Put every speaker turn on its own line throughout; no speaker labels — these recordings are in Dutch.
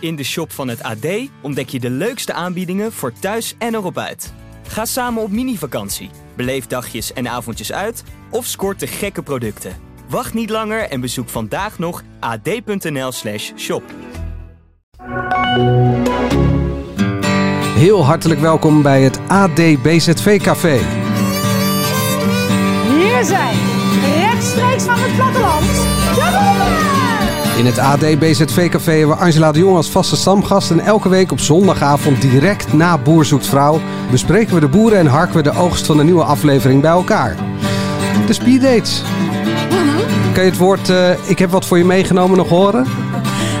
In de shop van het AD ontdek je de leukste aanbiedingen voor thuis en erop uit. Ga samen op mini-vakantie, beleef dagjes en avondjes uit of scoort de gekke producten. Wacht niet langer en bezoek vandaag nog ad.nl/slash shop.
Heel hartelijk welkom bij het AD BZV Café.
Hier zijn, rechtstreeks van het platteland, de boeren!
In het AD BZV Café hebben we Angela de Jong als vaste stamgast. En elke week op zondagavond, direct na Boer Zoekt Vrouw, bespreken we de boeren en harken we de oogst van de nieuwe aflevering bij elkaar. De speeddates. Kan je het woord eh, ik heb wat voor je meegenomen nog horen?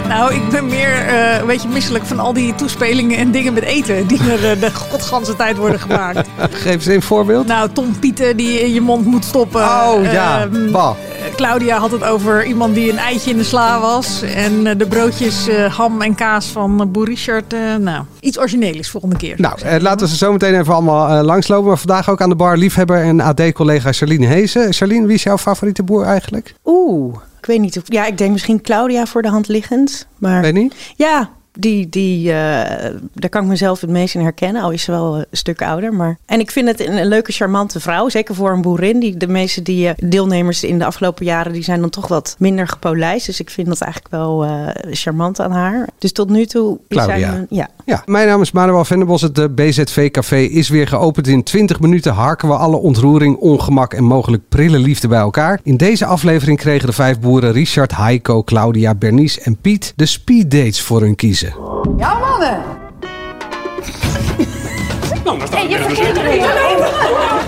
Nou, ik ben meer eh, een beetje misselijk van al die toespelingen en dingen met eten die er eh, de godganse tijd worden gemaakt.
Geef eens een voorbeeld.
nou, Tom Pieten die in je mond moet stoppen.
Oh ja,
Ehm,
bah.
eh, Claudia had het over iemand die een eitje in de sla was. En eh, de broodjes eh, ham en kaas van eh, Boer Richard. eh, nou, iets origineels volgende keer.
Nou, eh, laten we ze zo meteen even allemaal eh, langslopen. Maar vandaag ook aan de bar liefhebber en AD-collega Charlene Hezen. Charlene, wie is jouw favoriete boer eigenlijk?
Oeh, ik weet niet. Of, ja, ik denk misschien Claudia voor de hand liggend. Maar
Weet niet?
ja, die, die, eh, daar kan ik mezelf het meest in herkennen. Al is ze wel eh, een stuk ouder. Maar... En ik vind het een, een leuke, charmante vrouw. Zeker voor een boerin. Die, de meeste die, eh, deelnemers in de afgelopen jaren die zijn dan toch wat minder gepolijst. Dus ik vind dat eigenlijk wel eh, charmant aan haar. Dus tot nu toe... is zij
Claudia.
een- ja.
Ja, mijn naam is Manuel Venderbos. Het eh, BZV Café is weer geopend. In 20 minuten harken we alle ontroering, ongemak en mogelijk prille liefde bij elkaar. In deze aflevering kregen de vijf boeren Richard, Heiko, Claudia, Bernice en Piet de speeddates voor hun kiezen.
Ja, Oh, mannen!
Je vergeet er niet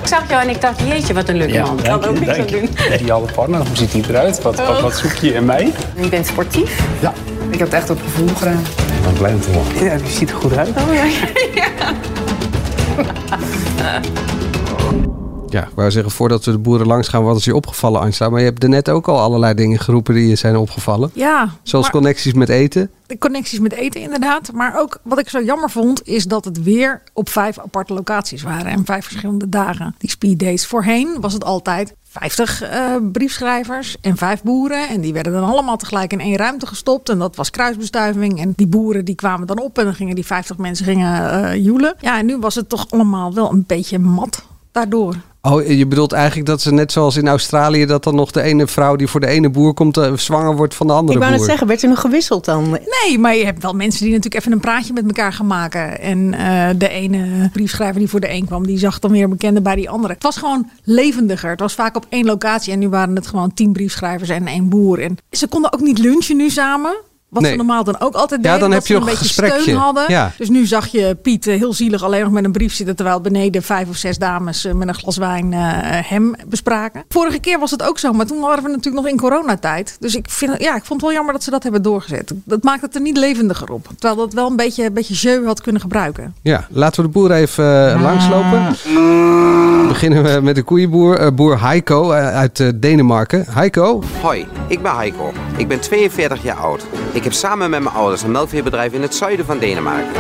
Ik zag jou en ik dacht, jeetje, wat een leuke man.
kan ook niks aan doen. Ideale partner, hoe ziet die eruit? Wat, wat, wat zoek je in mij?
Je bent sportief.
Ja.
Ik heb het echt op gevoel gedaan.
Ik ben blij om te horen. Ja, die ziet er goed uit.
Ja, ik wou zeggen, voordat we de boeren langs gaan, wat is je opgevallen, Angela? Maar je hebt net ook al allerlei dingen geroepen die je zijn opgevallen.
Ja,
Zoals
maar-
connecties met eten.
de connecties met eten inderdaad. Maar ook wat ik zo jammer vond, is dat het weer op vijf aparte locaties waren. En vijf verschillende dagen. Die speeddates voorheen was het altijd 50 eh, briefschrijvers en vijf boeren. En die werden dan allemaal tegelijk in één ruimte gestopt. En dat was kruisbestuiving. En die boeren die kwamen dan op en dan gingen die 50 mensen gingen eh joelen. Ja, en nu was het toch allemaal wel een beetje mat daardoor.
Oh, je bedoelt eigenlijk dat ze net zoals in Australië... dat dan nog de ene vrouw die voor de ene boer komt... eh, zwanger wordt van de andere
Ik wou
boer.
net zeggen, werd er nog gewisseld dan?
Nee, maar je hebt wel mensen die natuurlijk even een praatje met elkaar gaan maken. En eh, de ene briefschrijver die voor de een kwam, die zag dan weer een bekende bij die andere. Het was gewoon levendiger. Het was vaak op één locatie en nu waren het gewoon tien briefschrijvers en één boer. En ze konden ook niet lunchen nu samen. Wat
Nee.
ze normaal dan ook altijd
Ja, dan
deden. dat
heb je
ze
nog
een
een
beetje
gesprekje.
steun hadden.
Ja.
Dus nu zag je Piet eh, heel zielig alleen nog met een brief zitten. Terwijl beneden vijf of zes dames eh, met een glas wijn eh, hem bespraken. Vorige keer was het ook zo, maar toen waren we natuurlijk nog in coronatijd. Dus ik, vind, het- ja, ik vond het wel jammer dat ze dat hebben doorgezet. Dat maakt het er niet levendiger op. Terwijl dat wel een beetje, een beetje jeu had kunnen gebruiken.
Ja, laten we de boer even eh, langslopen. Beginnen we met de koeienboer, eh, boer Heiko eh, uit eh, Denemarken. Heiko,
Hoi, ik ben Heiko. Ik ben 42 jaar oud. Ik heb samen met mijn ouders een melkveebedrijf in het zuiden van Denemarken.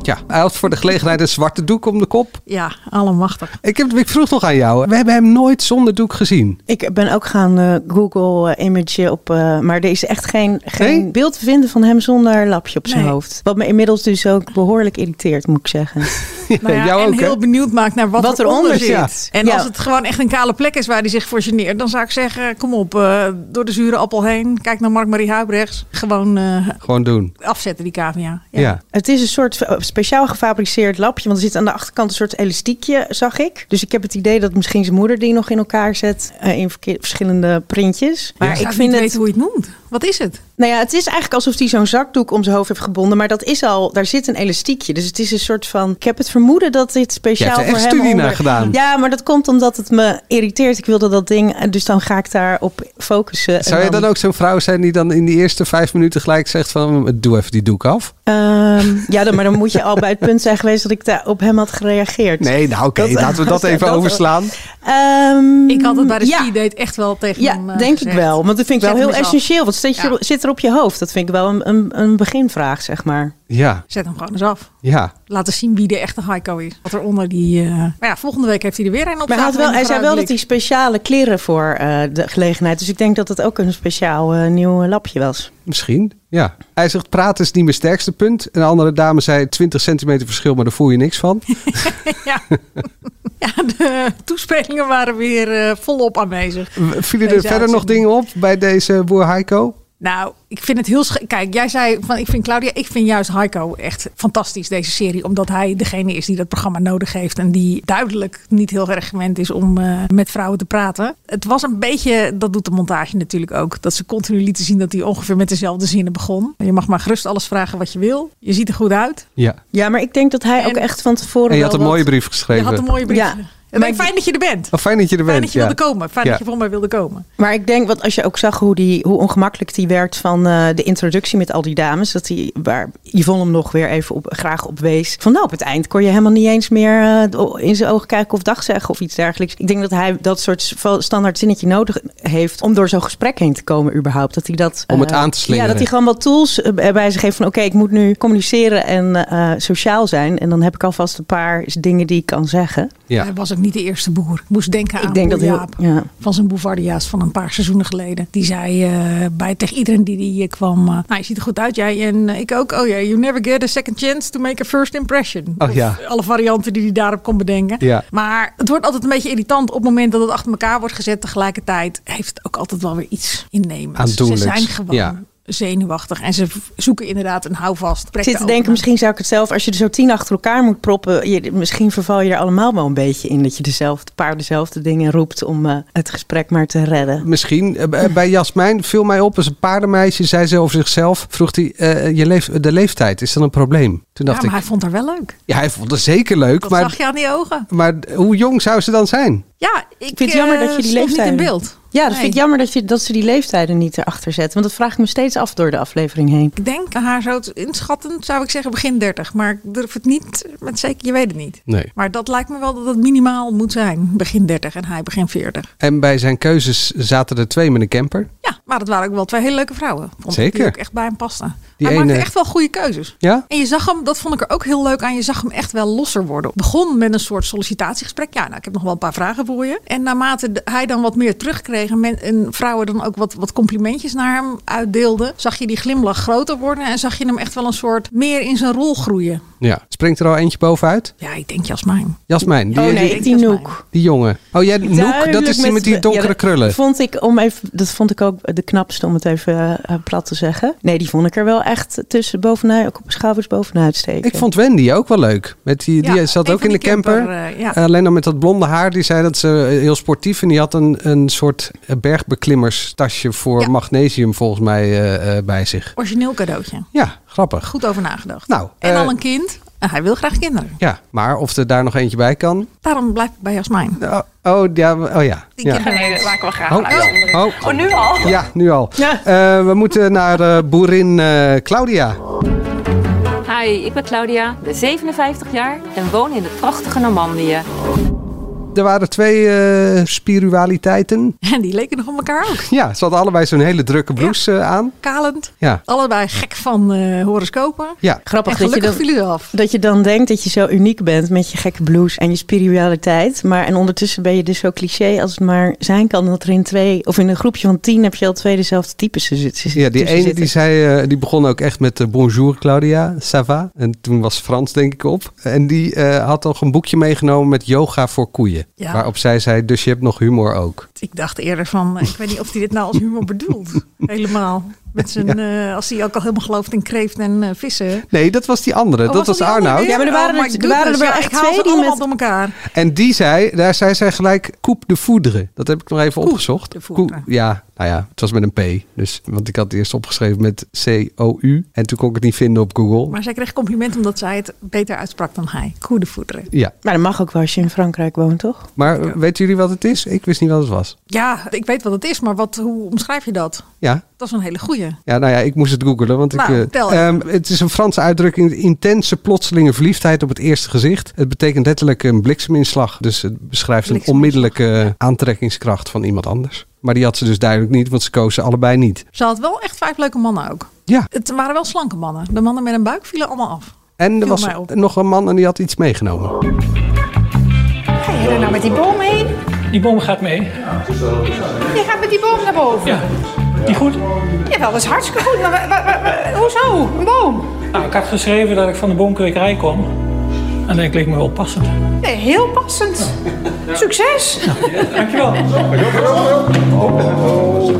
ja, hij had voor de gelegenheid een zwarte doek om de kop.
Ja, allemachtig.
Ik, heb, ik vroeg nog aan jou, we hebben hem nooit zonder doek gezien.
Ik ben ook gaan eh, Google eh, image op, eh, maar er is echt geen, geen
Nee?
beeld te vinden van hem zonder lapje op zijn
Nee.
hoofd. Wat me inmiddels dus ook behoorlijk irriteert, moet ik zeggen.
Nou ja,
jou
en
ook, hè?
heel benieuwd maakt naar wat,
Wat
eronder
eronder
zit.
zit.
En
Ja.
als het gewoon echt een kale plek is waar hij zich voor geneert, dan zou ik zeggen: kom op, eh, door de zure appel heen. Kijk naar Mark-Marie Huibrechts. Gewoon eh,
Gewoon doen.
afzetten die cavia.
Ja.
Het is een soort eh, speciaal gefabriceerd lapje, want er zit aan de achterkant een soort elastiekje, zag ik. Dus ik heb het idee dat misschien zijn moeder die nog in elkaar zet eh, in verkeer- verschillende printjes. Maar ik vind het...
weten hoe je het noemt. Wat is het?
Nou ja, het is eigenlijk alsof hij zo'n zakdoek om zijn hoofd heeft gebonden. Maar dat is al, daar zit een elastiekje. Dus het is een soort van. Ik heb het vermoeden dat dit speciaal
Jij hebt er
voor
echt
hem
studie
onder-
naar gedaan.
Ja, maar dat komt omdat het me irriteert. Ik wilde dat ding. eh, Dus dan ga ik daarop focussen. En
Zou je dan ook zo'n vrouw zijn die dan in die eerste vijf minuten gelijk zegt van... doe even die doek af?
Ehm, ja, dan, maar dan moet je al bij het punt zijn geweest dat ik daar op hem had gereageerd.
Nee, nou oké,
Dat-
laten we dat even
dat-
overslaan.
Ehm,
Ik had het bij de
ja.
ski date echt wel tegen
Ja,
hem eh,
denk ik
gezegd.
wel. Want dat vind ik
Zet
wel heel
hem eens af.
essentieel. Want zit je,
Ja.
zit er op je hoofd? Dat vind ik wel een, een, een beginvraag, zeg maar.
Ja,
Zet hem gewoon eens af.
ja.
Laten zien wie de echte Heiko is. Wat er onder die... eh, Maar ja, volgende week heeft hij er weer een op.
Maar hij, had wel, hij zei wel dat hij speciale kleren voor eh, de gelegenheid. Dus ik denk dat het ook een speciaal eh, nieuw lapje was.
Misschien, ja. Hij zegt, praten is niet mijn sterkste punt. Een andere dame zei, 20 centimeter verschil, maar daar voel je niks van.
Ja. ja, de toespelingen waren weer eh, volop aanwezig.
W- Vielen er
Deze
verder nog
uitzending.
dingen op bij deze boer Heiko?
Nou, ik vind het heel... sch- Kijk, jij zei van ik vind Claudia... Ik vind juist Heiko echt fantastisch, deze serie. Omdat hij degene is die dat programma nodig heeft. En die duidelijk niet heel erg gewend is om eh, met vrouwen te praten. Het was een beetje... Dat doet de montage natuurlijk ook. Dat ze continu lieten zien dat hij ongeveer met dezelfde zinnen begon. Je mag maar gerust alles vragen wat je wil. Je ziet er goed uit.
Ja.
Ja, maar ik denk dat hij
En-
ook echt van tevoren.
En je had
wel
een mooie
wat-
brief
Je
geschreven.
had een mooie brief.
Ja.
Ik
Maar
ben
ik-
fijn dat je er bent.
Oh, fijn dat je er bent.
Fijn dat je
ja.
wilde komen. Fijn
Ja.
dat je voor mij wilde komen.
Maar ik denk, wat als je ook zag hoe, die, hoe ongemakkelijk die werd van eh, de introductie met al die dames. Dat die, waar Yvonne hem nog weer even op, graag op wees. Van nou, op het eind kon je helemaal niet eens meer eh, in zijn ogen kijken of dag zeggen of iets dergelijks. Ik denk dat hij dat soort va- standaard zinnetje nodig heeft om door zo'n gesprek heen te komen überhaupt. Dat hij dat,
Om het
eh,
aan te slingeren.
Ja, dat hij gewoon wat tools eh, bij zich heeft van oké, ik moet nu communiceren en eh, sociaal zijn. En dan heb ik alvast een paar dingen die ik kan zeggen.
Ja.
Hij was ook niet de eerste boer. Ik moest denken aan
ik denk
boer
dat heel-
Jaap.
ja.
van zijn Bouvardia's van een paar seizoenen geleden. Die zei eh, bij tegen iedereen die die hier kwam: eh, Nou, je ziet er goed uit, jij en eh, ik ook. Oh ja, you never get a second chance to make a first impression.
Oh
Of
ja.
Alle varianten die hij daarop kon bedenken.
Ja.
Maar het wordt altijd een beetje irritant op het moment dat het achter elkaar wordt gezet. Tegelijkertijd heeft het ook altijd wel weer iets innemends. Dus Ze
Aandoenlijks,
zijn gewoon.
ja.
Zenuwachtig en ze v- zoeken inderdaad een houvast.
Ik zit te denken, misschien zou ik het zelf, als je er zo tien achter elkaar moet proppen, je, misschien verval je er allemaal wel een beetje in dat je dezelfde, een paar dezelfde dingen roept om eh, het gesprek maar te redden.
Misschien. Eh, bij- Bij Jasmijn viel mij op, is een paardenmeisje, zei ze over zichzelf, vroeg hij, eh, je leef, de leeftijd, is dat een probleem? Toen
Ja,
dacht
maar hij
ik,
vond haar wel leuk.
ja, hij vond het zeker leuk,
Dat
maar,
zag je aan die ogen.
maar hoe jong zou ze dan zijn?
Ja, ik,
vind het jammer
eh,
dat je die
stond
leeftijden-
niet in beeld.
Ja, dat
Nee.
vind ik jammer dat, je, dat ze die leeftijden niet erachter zetten, want dat vraag ik me steeds af door de aflevering heen.
Ik denk haar zo te- inschattend zou ik zeggen begin 30. Maar ik durf het niet met zeker, je weet het niet.
Nee.
Maar dat lijkt me wel dat het minimaal moet zijn. Begin 30 en hij begin 40.
En bij zijn keuzes zaten er twee met een camper.
Ja, maar dat waren ook wel twee hele leuke vrouwen. Vond ik,
Zeker.
Die ook echt bij hem pasten.
Die
hij
ene-
maakte echt wel goede keuzes.
Ja?
En je zag hem, dat vond ik er ook heel leuk aan, je zag hem echt wel losser worden. Het begon met een soort sollicitatiegesprek. Ja, nou, ik heb nog wel een paar vragen voor je. En naarmate de- hij dan wat meer terugkreeg en, men- en vrouwen dan ook wat, wat complimentjes naar hem uitdeelden, zag je die glimlach groter worden en zag je hem echt wel een soort meer in zijn rol groeien.
Ja. Springt er al eentje bovenuit?
Ja, ik denk Jasmijn.
Jasmijn, die,
Oh nee,
die,
ik die Noek.
die jongen. Oh jij, Noek, dat is die met die donkere
Ja, dat
krullen.
Vond ik om even, dat vond ik ook de knapste om het even eh, plat te zeggen. Nee, die vond ik er wel echt tussen bovenuit, ook op schouders bovenuit steken.
Ik vond Wendy ook wel leuk. Met die, die
Ja,
zat
een
ook in
van
de
die
camper.
camper, eh, ja.
Alleen dan met dat blonde haar. Die zei dat ze eh, heel sportief en die had een, een soort eh, bergbeklimmerstasje voor
Ja.
magnesium volgens mij eh, eh, bij zich.
Origineel cadeautje.
Ja, grappig.
Goed over nagedacht.
Nou,
en
eh,
al een kind. En hij wil graag kinderen.
Ja, maar of er daar nog eentje bij kan.
Daarom blijf ik bij Jasmijn.
Oh, oh, ja, oh ja.
Die
ja.
kinderen
dat maken we graag
Oh, oh.
nu al?
Ja, nu al.
Ja.
Eh, we moeten naar eh, boerin eh, Claudia.
Hi, ik ben Claudia, ben 57 jaar en woon in het prachtige Normandië.
Er waren twee eh, spiritualiteiten.
En die leken nog op elkaar ook.
Ja, ze hadden allebei zo'n hele drukke blouse eh, aan.
Kalend.
Ja,
Allebei gek van eh, horoscopen.
ja.
Grappig
en
dat je
gelukkig
dat,
vielen ze af.
Dat je dan denkt dat je zo uniek bent met je gekke blues en je spiritualiteit. Maar en ondertussen ben je dus zo cliché als het maar zijn kan. Dat er in twee, of in een groepje van tien heb je al twee dezelfde types. zi- zi-
Ja, die
tussen
ene
zitten.
die zei, eh, die begon ook echt met eh, bonjour Claudia, ça va? En toen was Frans denk ik op. En die eh, had toch een boekje meegenomen met yoga voor koeien.
Ja.
Waarop zij zei, dus je hebt nog humor ook.
Ik dacht eerder van, eh, ik weet niet of hij dit nou als humor bedoelt. Helemaal. Met zijn, eh, als hij ook al helemaal gelooft in kreeft en eh, vissen.
Nee, dat was die andere.
Oh,
dat was
die andere
Arnoud.
weer?
Ja, maar er waren
Oh my
er- er waren er
goodness.
wel
Ja,
echt
ik haal
twee
ze
die
allemaal
met-
door elkaar.
En die zei, daar zei zij gelijk, coupe de foudre. Dat heb ik nog even opgezocht.
de foudre.
Coupe- ja, nou ja, het was met een P. Dus, want ik had het eerst opgeschreven met C-O-U. En toen kon ik het niet vinden op Google.
Maar zij kreeg complimenten omdat zij het beter uitsprak dan hij. Goede voederen.
ja,
Maar dat mag ook wel als je in Frankrijk woont, toch?
maar eh, weten jullie wat het is? Ik wist niet wat het was.
Ja, ik weet wat het is, maar wat, hoe omschrijf je dat?
Ja,
Dat is een hele goeie.
Ja, nou ja, ik moest het googelen. Want
Nou,
ik, eh,
vertel
ehm, het is een Franse uitdrukking. Intense plotselinge verliefdheid op het eerste gezicht. Het betekent letterlijk een blikseminslag. Dus het beschrijft een
Blikseminslag,
onmiddellijke aantrekkingskracht van iemand anders. Maar die had ze dus duidelijk niet, want ze koos ze allebei niet.
Ze had wel echt vijf leuke mannen ook.
Ja,
Het waren wel slanke mannen. De mannen met een buik vielen allemaal af.
en er
Viel
was
mij op.
nog een man en die had iets meegenomen.
Ga je er nou met die boom heen?
Die boom gaat mee.
Je gaat met die boom naar boven.
Ja. Die goed?
Ja, dat is hartstikke goed. Maar wa- wa- wa- wa- hoezo? Een boom?
Nou, ik had geschreven dat ik van de boomkwekerij kom. En dat leek me wel passend.
Nee, heel passend. Succes.
Dankjewel.
Dat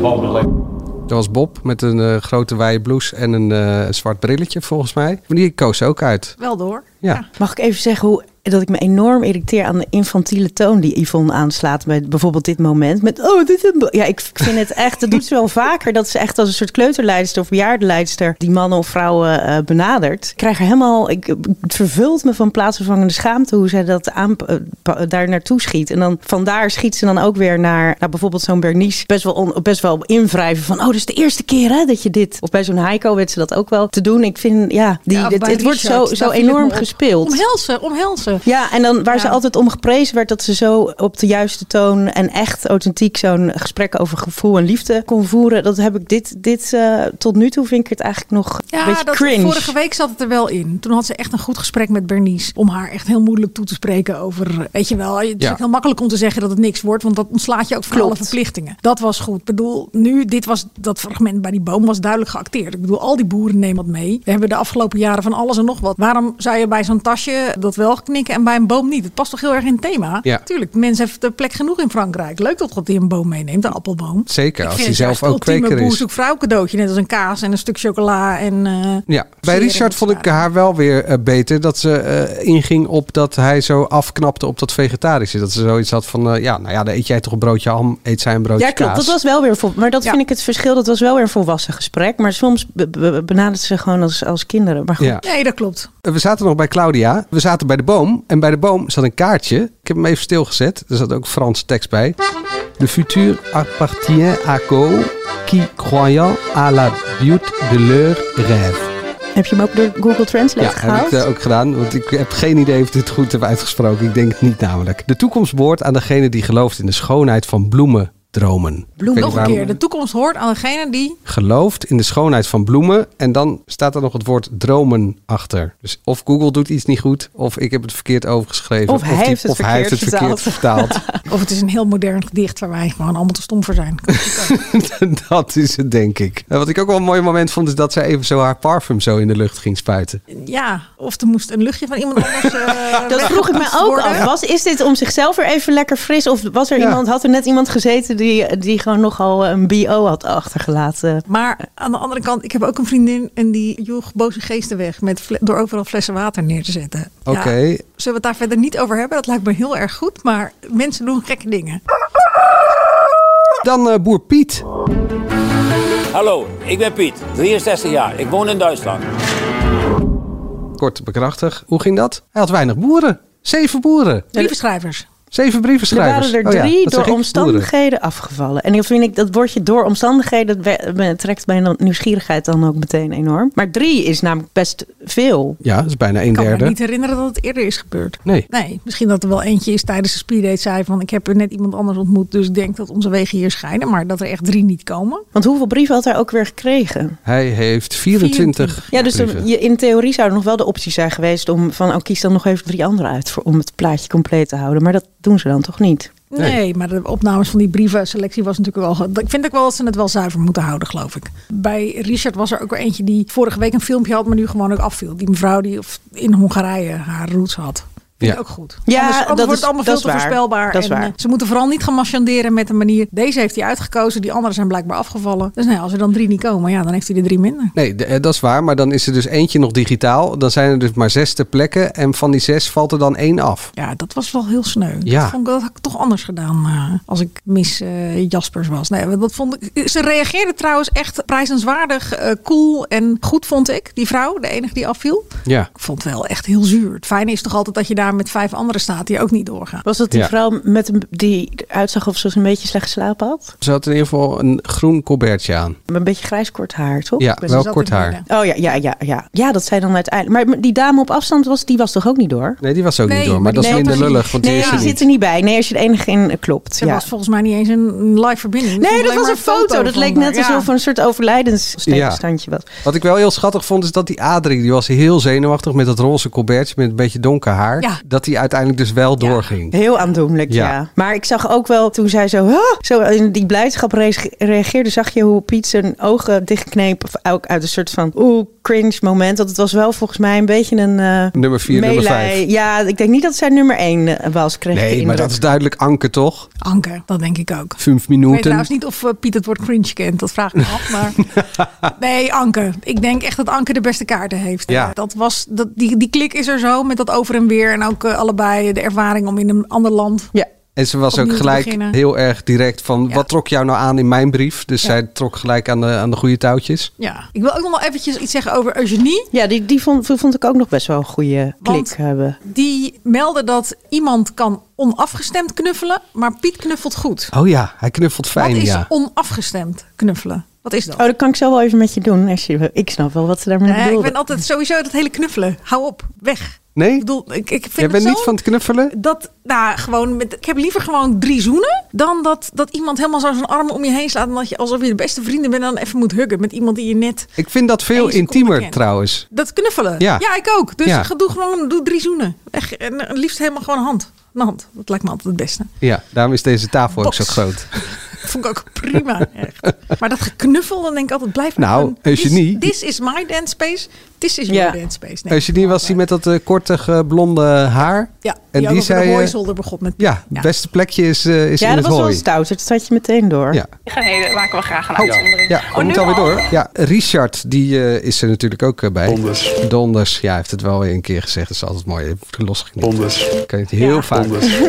was Bob met een eh, grote wijde blouse en een eh, zwart brilletje volgens mij. Maar die koos ze ook uit.
Wel door.
Ja.
Mag ik even zeggen hoe, dat ik me enorm irriteer aan de infantiele toon die Yvonne aanslaat met bijvoorbeeld dit moment. Met, oh, dit is een bo- Ja, ik ik vind het echt, dat doet ze wel vaker, dat ze echt als een soort kleuterleidster of bejaardenleidster die mannen of vrouwen eh, benadert. Ik krijg er helemaal, ik, het vervult me van plaatsvervangende schaamte hoe zij dat aan, eh, pa- daar naartoe schiet. En dan vandaar schiet ze dan ook weer naar, naar bijvoorbeeld zo'n Bernice best wel, on, best wel invrijven van, oh, dat is de eerste keer hè, dat je dit. Of bij zo'n Heiko weet ze dat ook wel te doen. Ik vind, ja, die,
Ja, of
het,
bij
het wordt zo,
Richard,
zo
daar viel ik me
enorm
op.
gespeeld.
Omhelzen, omhelzen.
Ja, en dan waar
Ja.
ze altijd om geprezen werd dat ze zo op de juiste toon en echt authentiek zo'n gesprek over gevoel en liefde kon voeren. Dat heb ik dit, dit eh, tot nu toe vind ik het eigenlijk nog een
Ja,
beetje
dat,
cringe.
vorige week zat het er wel in. Toen had ze echt een goed gesprek met Bernice. Om haar echt heel moeilijk toe te spreken over... eh, Weet je wel, het is
Ja.
ook heel makkelijk om te zeggen dat het niks wordt. Want dat ontslaat je ook van
Klopt.
alle verplichtingen. Dat was goed. Ik bedoel, nu, dit was, dat fragment bij die boom was duidelijk geacteerd. Ik bedoel, al die boeren nemen wat mee. We hebben de afgelopen jaren van alles en nog wat. Waarom zou je bij zo'n tasje dat wel knikken en bij een boom niet? Het past toch heel erg in het thema?
Ja.
Tuurlijk, mensen heeft er plek genoeg in Frankrijk. Leuk dat God die een boom meeneemt, een appelboom.
Zeker,
Ik
als
vind
hij
het juist
zelf ook
het ultieme
kweker
boer
is.
zoekt vrouw cadeautje. Net als een kaas en een stuk chocola. En, eh,
Ja, bij
Zeer
Richard vond ik
inderdaad.
haar wel weer eh, beter dat ze eh, inging op dat hij zo afknapte op dat vegetarische. Dat ze zoiets had van, eh, ja, nou ja, dan eet jij toch een broodje ham, eet zij een broodje
Ja, klopt.
kaas.
Dat was wel weer vol, maar dat
Ja.
vind ik het verschil. Dat was wel weer een volwassen gesprek. Maar soms be- be- benadert ze gewoon als, als kinderen. Maar goed,
Ja.
Nee, dat klopt.
Eh, We zaten nog bij Claudia. We zaten bij de boom. En bij de boom zat een kaartje. Ik heb hem even stilgezet. Er zat ook Franse tekst bij. Le futur appartient à co qui croyant à la beauté de leur rêve.
heb je hem ook door Google Translate
Ja, heb
gehaald?
ik eh, ook gedaan. Want ik heb geen idee of ik dit goed heb uitgesproken. Ik denk het niet namelijk. De toekomst behoort aan degene die gelooft in de schoonheid van bloemen dromen.
Bloemen.
Ik weet
Nog
niet
een
waarom-
keer. De toekomst hoort aan degene die...
Gelooft in de schoonheid van bloemen. En dan staat er nog het woord dromen achter. Dus of Google doet iets niet goed. Of ik heb het verkeerd overgeschreven.
Of hij heeft het
of hij heeft het verkeerd
verkeerd
vertaald.
Of het is een heel modern gedicht waar wij gewoon allemaal te stom voor zijn.
dat is het, denk ik. En wat ik ook wel een mooi moment vond. Is dat zij even zo haar parfum zo in de lucht ging spuiten.
Ja, of er moest een luchtje van iemand anders... eh,
Dat vroeg ik me
weggepoetst
ook
worden.
af. Was, is dit om zichzelf weer even lekker fris? Of was er
Ja.
iemand, had er net iemand gezeten die, die gewoon nogal een BO had achtergelaten?
Maar aan de andere kant, ik heb ook een vriendin en die joeg boze geesten weg met fle- door overal flessen water neer te zetten. Ja,
Oké.
zullen we het daar verder niet over hebben? Dat lijkt me heel erg goed, maar mensen doen gekke dingen.
Dan eh, boer Piet.
Hallo, ik ben Piet, 63 jaar. Ik woon in Duitsland.
Kort en bekrachtig. Hoe ging dat? Hij had weinig boeren. Zeven boeren.
Brievenschrijvers.
Zeven
Er
brievenschrijvers.
waren er
Oh ja,
drie
dat zeg
door
ik, boeren.
omstandigheden afgevallen. En dan vind ik dat woordje door omstandigheden dat we- me- trekt mijn nieuwsgierigheid dan ook meteen enorm. Maar drie is namelijk best veel.
Ja, dat is bijna een
Ik kan me
derde.
niet herinneren dat het eerder is gebeurd.
Nee.
Nee, misschien dat er wel eentje is tijdens de speeddate zei van ik heb er net iemand anders ontmoet, dus ik denk dat onze wegen hier scheiden, maar dat er echt drie niet komen.
Want hoeveel brieven had hij ook weer gekregen?
Hij heeft 24
Ja, dus dan-
brieven.
je, in theorie zou er nog wel de optie zijn geweest om van oh, kies dan nog even drie andere uit voor, om het plaatje compleet te houden. Maar dat doen ze dan toch niet?
Nee,
Nee.
maar de opnames van die brievenselectie was natuurlijk wel. ge- Ik vind ook wel dat ze het wel zuiver moeten houden, geloof ik. Bij Richard was er ook weer eentje die vorige week een filmpje had, maar nu gewoon ook afviel. Die mevrouw die of in Hongarije haar roots had. Vind
Ja.
ik ook goed.
Ja,
anders, anders
dat
wordt
is-
het allemaal
dat
veel
is
te
waar.
voorspelbaar.
Dat is
en,
waar.
eh, ze moeten vooral niet gaan marchanderen met de manier. Deze heeft hij uitgekozen, die anderen zijn blijkbaar afgevallen. Dus nou ja, als er dan drie niet komen, ja, dan heeft hij er drie minder.
Nee, de- eh, dat is waar. Maar dan is er dus eentje nog digitaal. Dan zijn er dus maar zes ter plekke. En van die zes valt er dan één af.
Ja, dat was wel heel sneu.
Ja.
Dat, vond ik, dat had ik toch anders gedaan eh, als ik mis eh, Jaspers was. Nee, want dat vond ik, ze reageerde trouwens echt prijzenswaardig, eh, cool en goed vond ik. Die vrouw, de enige die afviel.
Ja.
Ik vond het wel echt heel zuur. Het fijne is toch altijd dat je jaar met vijf anderen staat die ook niet doorgaan.
Was dat die
Ja.
vrouw met een, die uitzag of ze een beetje slecht geslapen had?
Ze had in ieder geval een groen colbertje aan.
Met een beetje grijs kort haar, toch?
Ja, wel
Dus ze zat
kort
in het
haar.
midden.
Oh ja, ja, ja, ja. Ja, dat zij dan uiteindelijk. Maar die dame op afstand was, die was toch ook niet door?
Nee, die was ook
Nee,
niet door. Maar
maar
dat is
die-
minder
nee,
lullig, want die
nee,
is er
die
niet.
zit er niet bij. Nee, als je de enige in eh, klopt.
Ze
ja.
was volgens mij niet eens een live verbinding. Er
Nee,
stond
dat
alleen
was
maar
een foto. Dat
van
leek
haar.
net
Ja.
alsof een soort overlijdensstilstandje was.
Wat ik wel heel schattig vond, is dat die Adrie, die was heel zenuwachtig met dat roze colbertje, met een beetje donker haar.
Ja.
Dat die uiteindelijk dus wel doorging.
Heel aandoenlijk, ja.
Ja.
Maar ik zag ook wel, toen zij zo, "Huh?" zo in die blijdschap reage- reageerde, zag je hoe Piet zijn ogen dichtkneep. Of ook uit een soort van oeh, cringe moment. Want het was wel volgens mij een beetje een... eh,
Nummer 4, nummer
meelij.
5.
Ja, ik denk niet dat zij nummer 1 was, kreeg ik de
Nee, maar
indruk.
dat is duidelijk Anke, toch?
Anke, dat denk ik ook.
Vijf
Ik weet
minuten.
trouwens niet of eh, Piet het woord cringe kent. Dat vraag ik me af. Maar... Nee, Anke. Ik denk echt dat Anke de beste kaarten heeft.
Ja.
Eh, Dat was, dat, die, die klik is er zo met dat over en weer. En ook eh, allebei de ervaring om in een ander land.
Ja.
En ze was ook
opnieuw te
gelijk
beginnen.
heel erg direct van,
Ja.
wat trok jou nou aan in mijn brief? Dus zij trok gelijk aan de, aan de goede touwtjes.
Ja. Ik wil ook nog wel eventjes iets zeggen over Eugenie.
Ja, die, die vond, vond ik ook nog best wel een goede klik
Want-
hebben.
Die meldde dat iemand kan onafgestemd knuffelen. Maar Piet knuffelt goed.
Oh ja, hij knuffelt fijn,
Wat is
ja.
onafgestemd knuffelen? Wat is dat?
Oh, dat kan ik zo wel even met je doen. Als je, ik snap wel wat ze daarmee
Nee, ik
bedoelde.
ben altijd sowieso dat hele knuffelen. Hou op, weg.
Nee?
Ik bedoel, ik, ik vind
Jij bent
het
niet
zo-
van het knuffelen?
Dat, nou, gewoon met, ik heb liever gewoon drie zoenen dan dat, dat iemand helemaal zo zijn armen om je heen slaat. En dat je alsof je de beste vrienden bent en dan even moet huggen met iemand die je net.
Ik vind dat veel
Eén seconde
intiemer
kent.
trouwens.
Dat knuffelen.
Ja.
ik ook. Dus
Ja.
ga- doe gewoon doe drie zoenen. Echt, en eh, liefst helemaal gewoon een hand. Een hand. Dat lijkt me altijd het beste.
Ja, daarom is deze tafel
Box.
ook zo groot.
Dat vond ik ook prima. Echt. Maar dat geknuffel, dan denk ik altijd blijf
Nou,
gewoon, this-
Eugenie.
This, is my dance space. This is
Ja.
your dance space. Nee,
Als je die was die met dat eh, kortige blonde haar.
Ja,
En die,
die,
zei...
de
eh,
hooizolder begon met
ja, het beste plekje is, eh, is
ja,
in
dat
het
was wel
hooi.
stouter. Dat had je meteen door.
Ja.
Nee, daar maken we graag
Oh.
een uitzondering.
Oh, Ja, we moeten alweer door. Ja, Richard, die eh, is er natuurlijk ook eh, bij.
Donders.
Donders, ja, hij heeft het wel weer een keer gezegd. Dat is altijd mooi. Ik heb het losgeknipt.
Donders.
Ik kan het heel vaak.
Donders.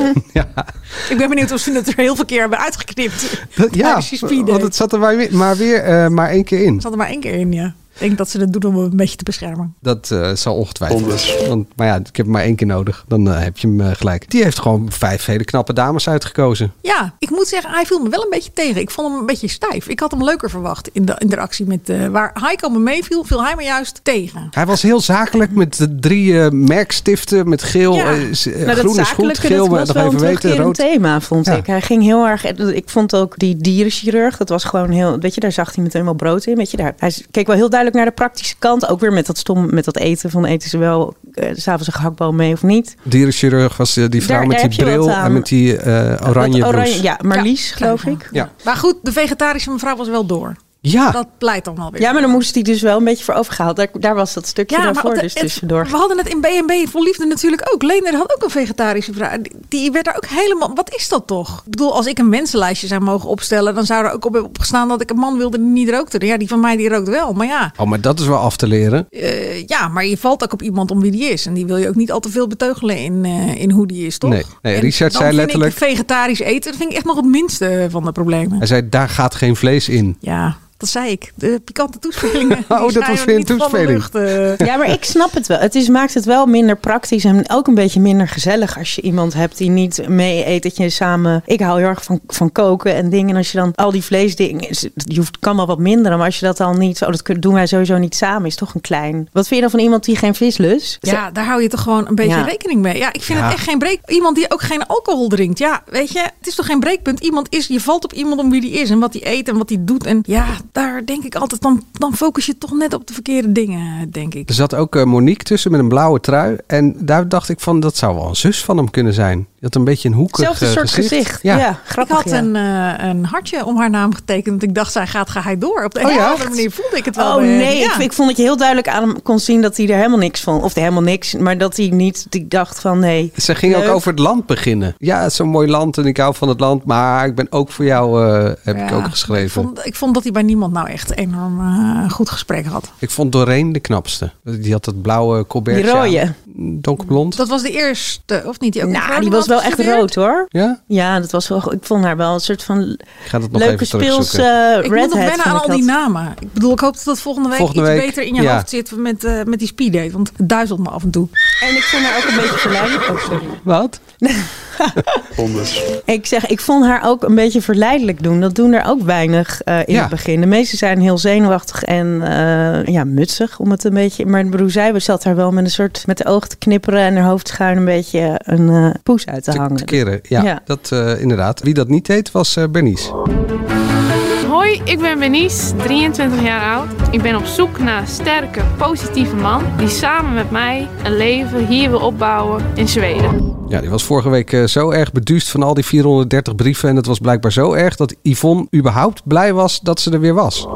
Ik ben benieuwd of ze het er heel veel keer hebben uitgeknipt.
Dat- ja,
Tijdens die speeddate.
want het zat er maar weer, maar, weer, eh, maar één keer in.
zat er maar één keer in, ja. Ik denk dat ze dat doen om hem een beetje te beschermen.
Dat eh, zal ongetwijfeld.
Donders.
Want, maar ja, ik heb hem maar één keer nodig. Dan eh, heb je hem eh, gelijk. Die heeft gewoon vijf hele knappe dames uitgekozen.
Ja, ik moet zeggen, hij viel me wel een beetje tegen. Ik vond hem een beetje stijf. Ik had hem leuker verwacht in de interactie met... eh, waar Heiko me meeviel, viel hij me juist tegen.
Hij was heel zakelijk met de drie eh, merkstiften. Met geel,
Ja.
eh, s- eh,
Nou, dat
groen is goed.
zakelijke,
Geel,
dat was
nog
wel een
even weten.
terugkerend
Rood.
thema, vond
Ja.
ik. Hij ging heel erg... Ik vond ook die dierenchirurg, dat was gewoon heel... Weet je, daar zag hij meteen wel brood in. Weet je, daar, hij keek wel heel duidelijk naar de praktische kant. Ook weer met dat stom, met dat eten. Van eten ze wel eh, s'avonds een gehaktbal mee of niet?
Dierenchirurg was eh, die vrouw
Daar-
met
daar
die
heb je wat
bril en
aan.
met die eh oranje
Dat
blouse. Ja.
Ja, Marlies,
Ja,
geloof
klein,
ik.
Ja.
Maar goed, de vegetarische mevrouw was wel door. Dat pleit dan wel weer.
Ja, maar dan moest hij dus wel een beetje voor overgehaald. Daar, daar was dat stukje daarvoor
op de-
dus
het-
tussendoor.
we hadden het in B&B Vol Liefde natuurlijk ook. Leender had ook een vegetarische vraag. Die- Die werd daar ook helemaal... Wat is dat toch? Ik bedoel, als ik een mensenlijstje zou mogen opstellen... dan zou er ook op, op gestaan dat ik een man wilde die niet rookte. Ja, die van mij die rookt wel. Maar ja,
Oh, maar dat is wel af te leren.
eh, ja, maar je valt ook op iemand om wie die is. En die wil je ook niet al te veel beteugelen in, eh, in hoe die is, toch?
Nee. Nee,
En
Richard
dan
zei
vind
letterlijk-
Ik vegetarisch eten dat vind ik echt nog het minste van de
Hij
problemen.
zei, daar gaat geen vlees in.
Ja, dat zei ik. De pikante toespelingen. die
Oh, dat
snijden
was weer een
niet van de
toespeling.
lucht, eh.
Ja, maar ik snap het wel. Het is, maakt het wel minder praktisch en ook een beetje minder gezellig als je iemand hebt die niet mee eet. Dat je samen. Ik hou heel erg van, van koken en dingen. En als je dan al die vleesdingen. is- Je hoeft, kan wel wat minder, maar als je dat dan niet. Oh, dat kun- doen wij sowieso niet samen. Is toch een klein. Wat vind je dan van iemand die geen vis lust?
Ja, daar hou je toch gewoon een beetje
Ja.
rekening mee. Ja, ik vind het echt geen breek. Iemand die ook geen alcohol drinkt. Ja, weet je, het is toch geen breekpunt. Iemand is, je valt op iemand om wie die is en wat die eet en wat die doet. En ja, daar denk ik altijd, dan, dan focus je toch net op de verkeerde dingen, denk ik.
Er zat ook eh, Monique tussen met een blauwe trui. En daar dacht ik van, dat zou wel een zus van hem kunnen zijn. Die had een beetje een hoekig
Hetzelfde
eh,
soort gezicht. Ja.
Ja.
Ik
grappig.
had
ja.
een, eh, een hartje om haar naam getekend. want Ik dacht, zij gaat geheid door. Op de een
ja?
of andere manier voelde ik het wel.
Oh
bij-
nee,
ja.
ik, ik vond dat je heel duidelijk aan hem kon zien dat hij er helemaal niks van. Of helemaal niks, maar dat hij niet. Die dacht van nee.
Ze ging ook
Leuk.
over het land beginnen. Ja, het is zo'n mooi land en ik hou van het land. Maar ik ben ook voor jou, eh, heb ik
Ja,
ook geschreven.
Ik vond, ik vond dat hij bij niemand nou echt enorm eh, goed gesprek had.
Ik vond Doreen de knapste. Die had dat blauwe colbertje.
Die rode.
aan. donkerblond?
Dat was de eerste, of niet? Die ook een
Nou,
vrouw
die was wel echt
afgestudeerd?
rood hoor.
Ja?
Ja, dat was wel. go- Ik vond haar wel een soort van
Ik ga dat nog
leuke
even
speels
terugzoeken.
eh redhead.
Ik moet nog wennen
vond
aan
ik
al
dat.
die namen. Ik bedoel, ik hoop dat dat volgende week
Volgende
iets
week,
beter in je
ja.
hoofd zit met, eh, met die speeddate. Want het duizelt me af en toe.
En ik vond haar ook een beetje verleidelijk. Oh, sorry.
Wat?
Wonders.
Ik zeg, ik vond haar ook een beetje verleidelijk doen. Dat doen er ook weinig eh, in
Ja.
het begin. De meesten zijn heel zenuwachtig en eh, ja, mutsig om het een beetje. Maar Broezijbe zat daar wel met een soort met de ogen te knipperen en haar hoofd schuin een beetje een eh, poes uit te,
Te,
hangen.
te keren, ja.
Ja.
Dat eh, inderdaad. Wie dat niet deed, was eh, Bernice.
Hoi, ik ben Benice, 23 jaar oud. Ik ben op zoek naar een sterke, positieve man die samen met mij een leven hier wil opbouwen in Zweden.
Ja, die was vorige week eh, zo erg beduust van al die 430 brieven. En dat was blijkbaar zo erg dat Yvonne überhaupt blij was dat ze er weer was.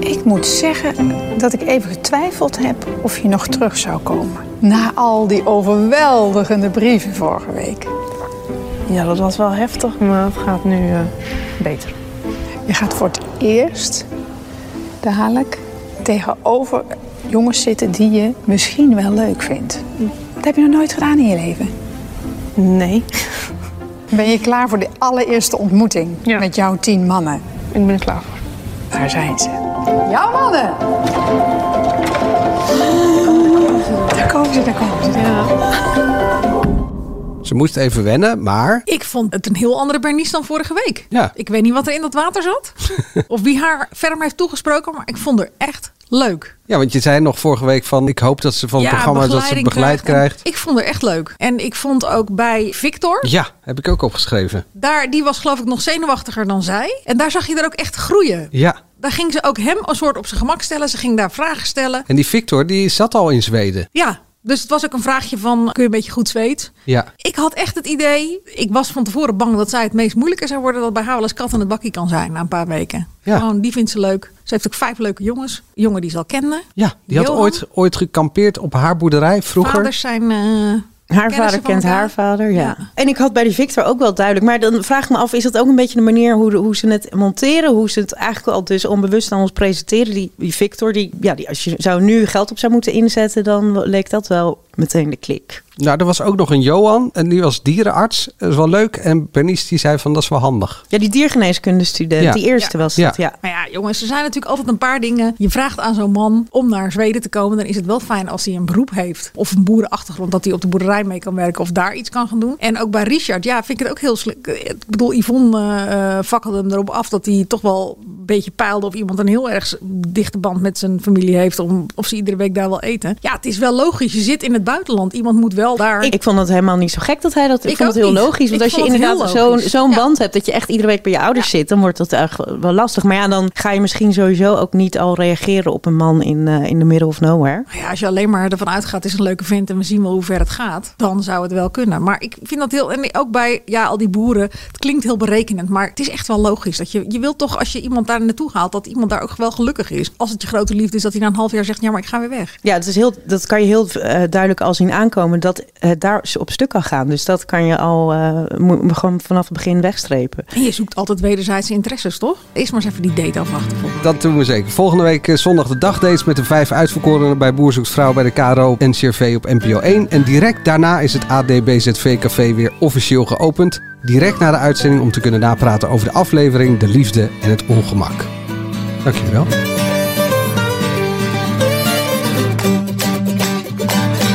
Ik moet zeggen dat ik even getwijfeld heb of je nog terug zou komen. Na al die overweldigende brieven vorige week.
Ja, dat was wel heftig, maar het gaat nu beter.
Je gaat voor het eerst dadelijk tegenover jongens zitten die je misschien wel leuk vindt. Dat heb je nog nooit gedaan in je leven.
Nee,
Ben je klaar voor de allereerste ontmoeting
Ja.
met jouw tien mannen?
ik ben er klaar voor.
Daar zijn ze. Jouw mannen! Daar komen ze, daar komen ze.
Ze moest even wennen, maar
Ik vond het een heel andere Bernice dan vorige week.
Ja.
Ik weet niet wat er in dat water zat. of wie haar verder heeft toegesproken. Maar ik vond haar echt leuk.
Ja, want je zei nog vorige week van ik hoop dat ze van het programma dat ze het begeleid
en
krijgt.
Ik vond haar echt leuk. En ik vond ook bij Victor,
Ja, heb ik ook opgeschreven.
daar, die was geloof ik nog zenuwachtiger dan zij. En daar zag je er ook echt groeien.
Ja.
Daar ging ze ook hem een soort op zijn gemak stellen. Ze ging daar vragen stellen.
En die Victor, die zat al in Zweden.
Ja, dus het was ook een vraagje van, kun je een beetje goed Zweeds?
Ja.
Ik had echt het idee, ik was van tevoren bang dat zij het meest moeilijke zou worden, dat bij haar wel eens kat aan het bakkie kan zijn na een paar weken.
Ja.
Gewoon, die vindt ze leuk. Ze heeft ook vijf leuke jongens. Jongen die ze al kende.
Ja, die had
Johan.
ooit, ooit gekampeerd op haar boerderij vroeger.
Vaders zijn... eh,
Haar
Kennen
vader
ze van
kent
elkaar?
haar vader, ja.
Ja.
En ik had bij die Victor ook wel duidelijk. Maar dan vraag ik me af, is dat ook een beetje de manier hoe, de- hoe ze het monteren? Hoe ze het eigenlijk al dus onbewust aan ons presenteren? Die, die Victor, die, ja, die, als je zou nu geld op zou moeten inzetten, dan leek dat wel meteen de klik.
Nou, er was ook nog een Johan en die was dierenarts. Dat is wel leuk. En Bernice die zei van dat is wel handig.
Ja, die diergeneeskundestudent,
Ja.
die eerste
Ja.
was dat, ja.
Maar ja, jongens, er zijn natuurlijk altijd een paar dingen. Je vraagt aan zo'n man om naar Zweden te komen. Dan is het wel fijn als hij een beroep heeft. Of een boerenachtergrond, dat hij op de boerderij mee kan werken. Of daar iets kan gaan doen. En ook bij Richard, ja, vind ik het ook heel slim. Ik bedoel, Yvonne eh, eh, fakkelde hem erop af dat hij toch wel een beetje peilde. Of iemand een heel erg dichte band met zijn familie heeft. Om, of ze iedere week daar wel eten. Ja, het is wel logisch. Je zit in het buitenland. Iemand moet wel daar.
Ik, ik vond dat helemaal niet zo gek dat hij dat. Ik,
Ik
vond het
ook
heel
niet.
logisch. Want
Ik
als je
vond het heel
inderdaad zo'n
logisch.
zo'n
Ja.
band hebt dat je echt iedere week bij je ouders zit, dan wordt dat eigenlijk wel lastig. Maar ja, dan ga je misschien sowieso ook niet al reageren op een man in, eh, in the middle of nowhere.
Nou Ja, als je alleen maar ervan uitgaat, is een leuke vent en we zien wel hoe ver het gaat, dan zou het wel kunnen. Maar ik vind dat heel, en ook bij ja, al die boeren, het klinkt heel berekenend, maar het is echt wel logisch. Dat je, je wilt toch, als je iemand daar naartoe haalt, dat iemand daar ook wel gelukkig is. Als het je grote liefde is, dat hij na een half jaar zegt, ja, maar ik ga weer weg.
Ja, het is heel, dat kan je heel eh, duidelijk al zien aankomen dat het daar op stuk kan gaan. Dus dat kan je al eh, mo- gewoon vanaf het begin wegstrepen.
En je zoekt altijd wederzijdse interesses, toch? Eerst maar eens even die date afwachten. volgens
Dat doen we zeker. Volgende week eh, zondag de dagdates met de vijf uitverkorenen bij Boer Zoekt Vrouw bij de KRO en CRV op NPO 1. En direct daarna is het ADBZV Café weer officieel geopend. Direct na de uitzending om te kunnen napraten over de aflevering, de liefde en het ongemak. Dankjewel.
mij.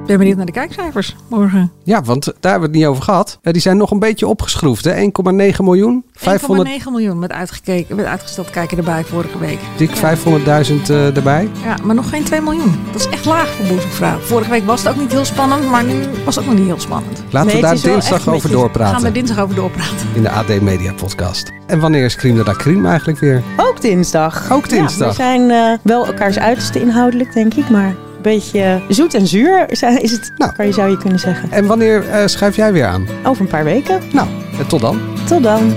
Ik ben benieuwd naar de kijkcijfers morgen.
Ja, want daar hebben we het niet over gehad. Eh, Die zijn nog een beetje opgeschroefd, hè? 1,9 miljoen. 500,
1,9 miljoen met, uitgekeken, met uitgesteld kijken erbij vorige week.
dik 500.000 eh, erbij.
Ja, maar nog geen 2 miljoen. Dat is echt laag voor boezemvrouw. Vorige week was het ook niet heel spannend, maar nu was het ook nog niet heel spannend.
Laten
Nee,
we
het
daar
is wel
dinsdag
echt een
over
beetje-
Gaan we
doorpraten
dinsdag over doorpraten.
in de AD Media Podcast. En wanneer is Cream de la Cream eigenlijk weer?
Ook dinsdag.
Ook dinsdag.
Ja, we zijn eh, wel elkaars uiterste inhoudelijk, denk ik. Maar een beetje eh, zoet en zuur is is het,
Nou.
kan je, zou je kunnen zeggen.
En wanneer eh, schuif jij weer aan?
Over een paar weken.
Nou, eh, tot dan.
Tot dan.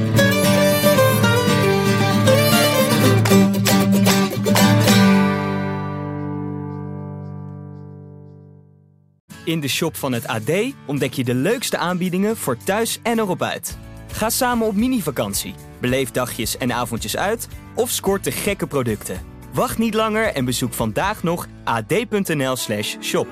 In de shop van het AD ontdek je de leukste aanbiedingen voor thuis en erop uit. Ga samen op mini-vakantie, beleef dagjes en avondjes uit of scoort de gekke producten. Wacht niet langer en bezoek vandaag nog ad.nl/shop.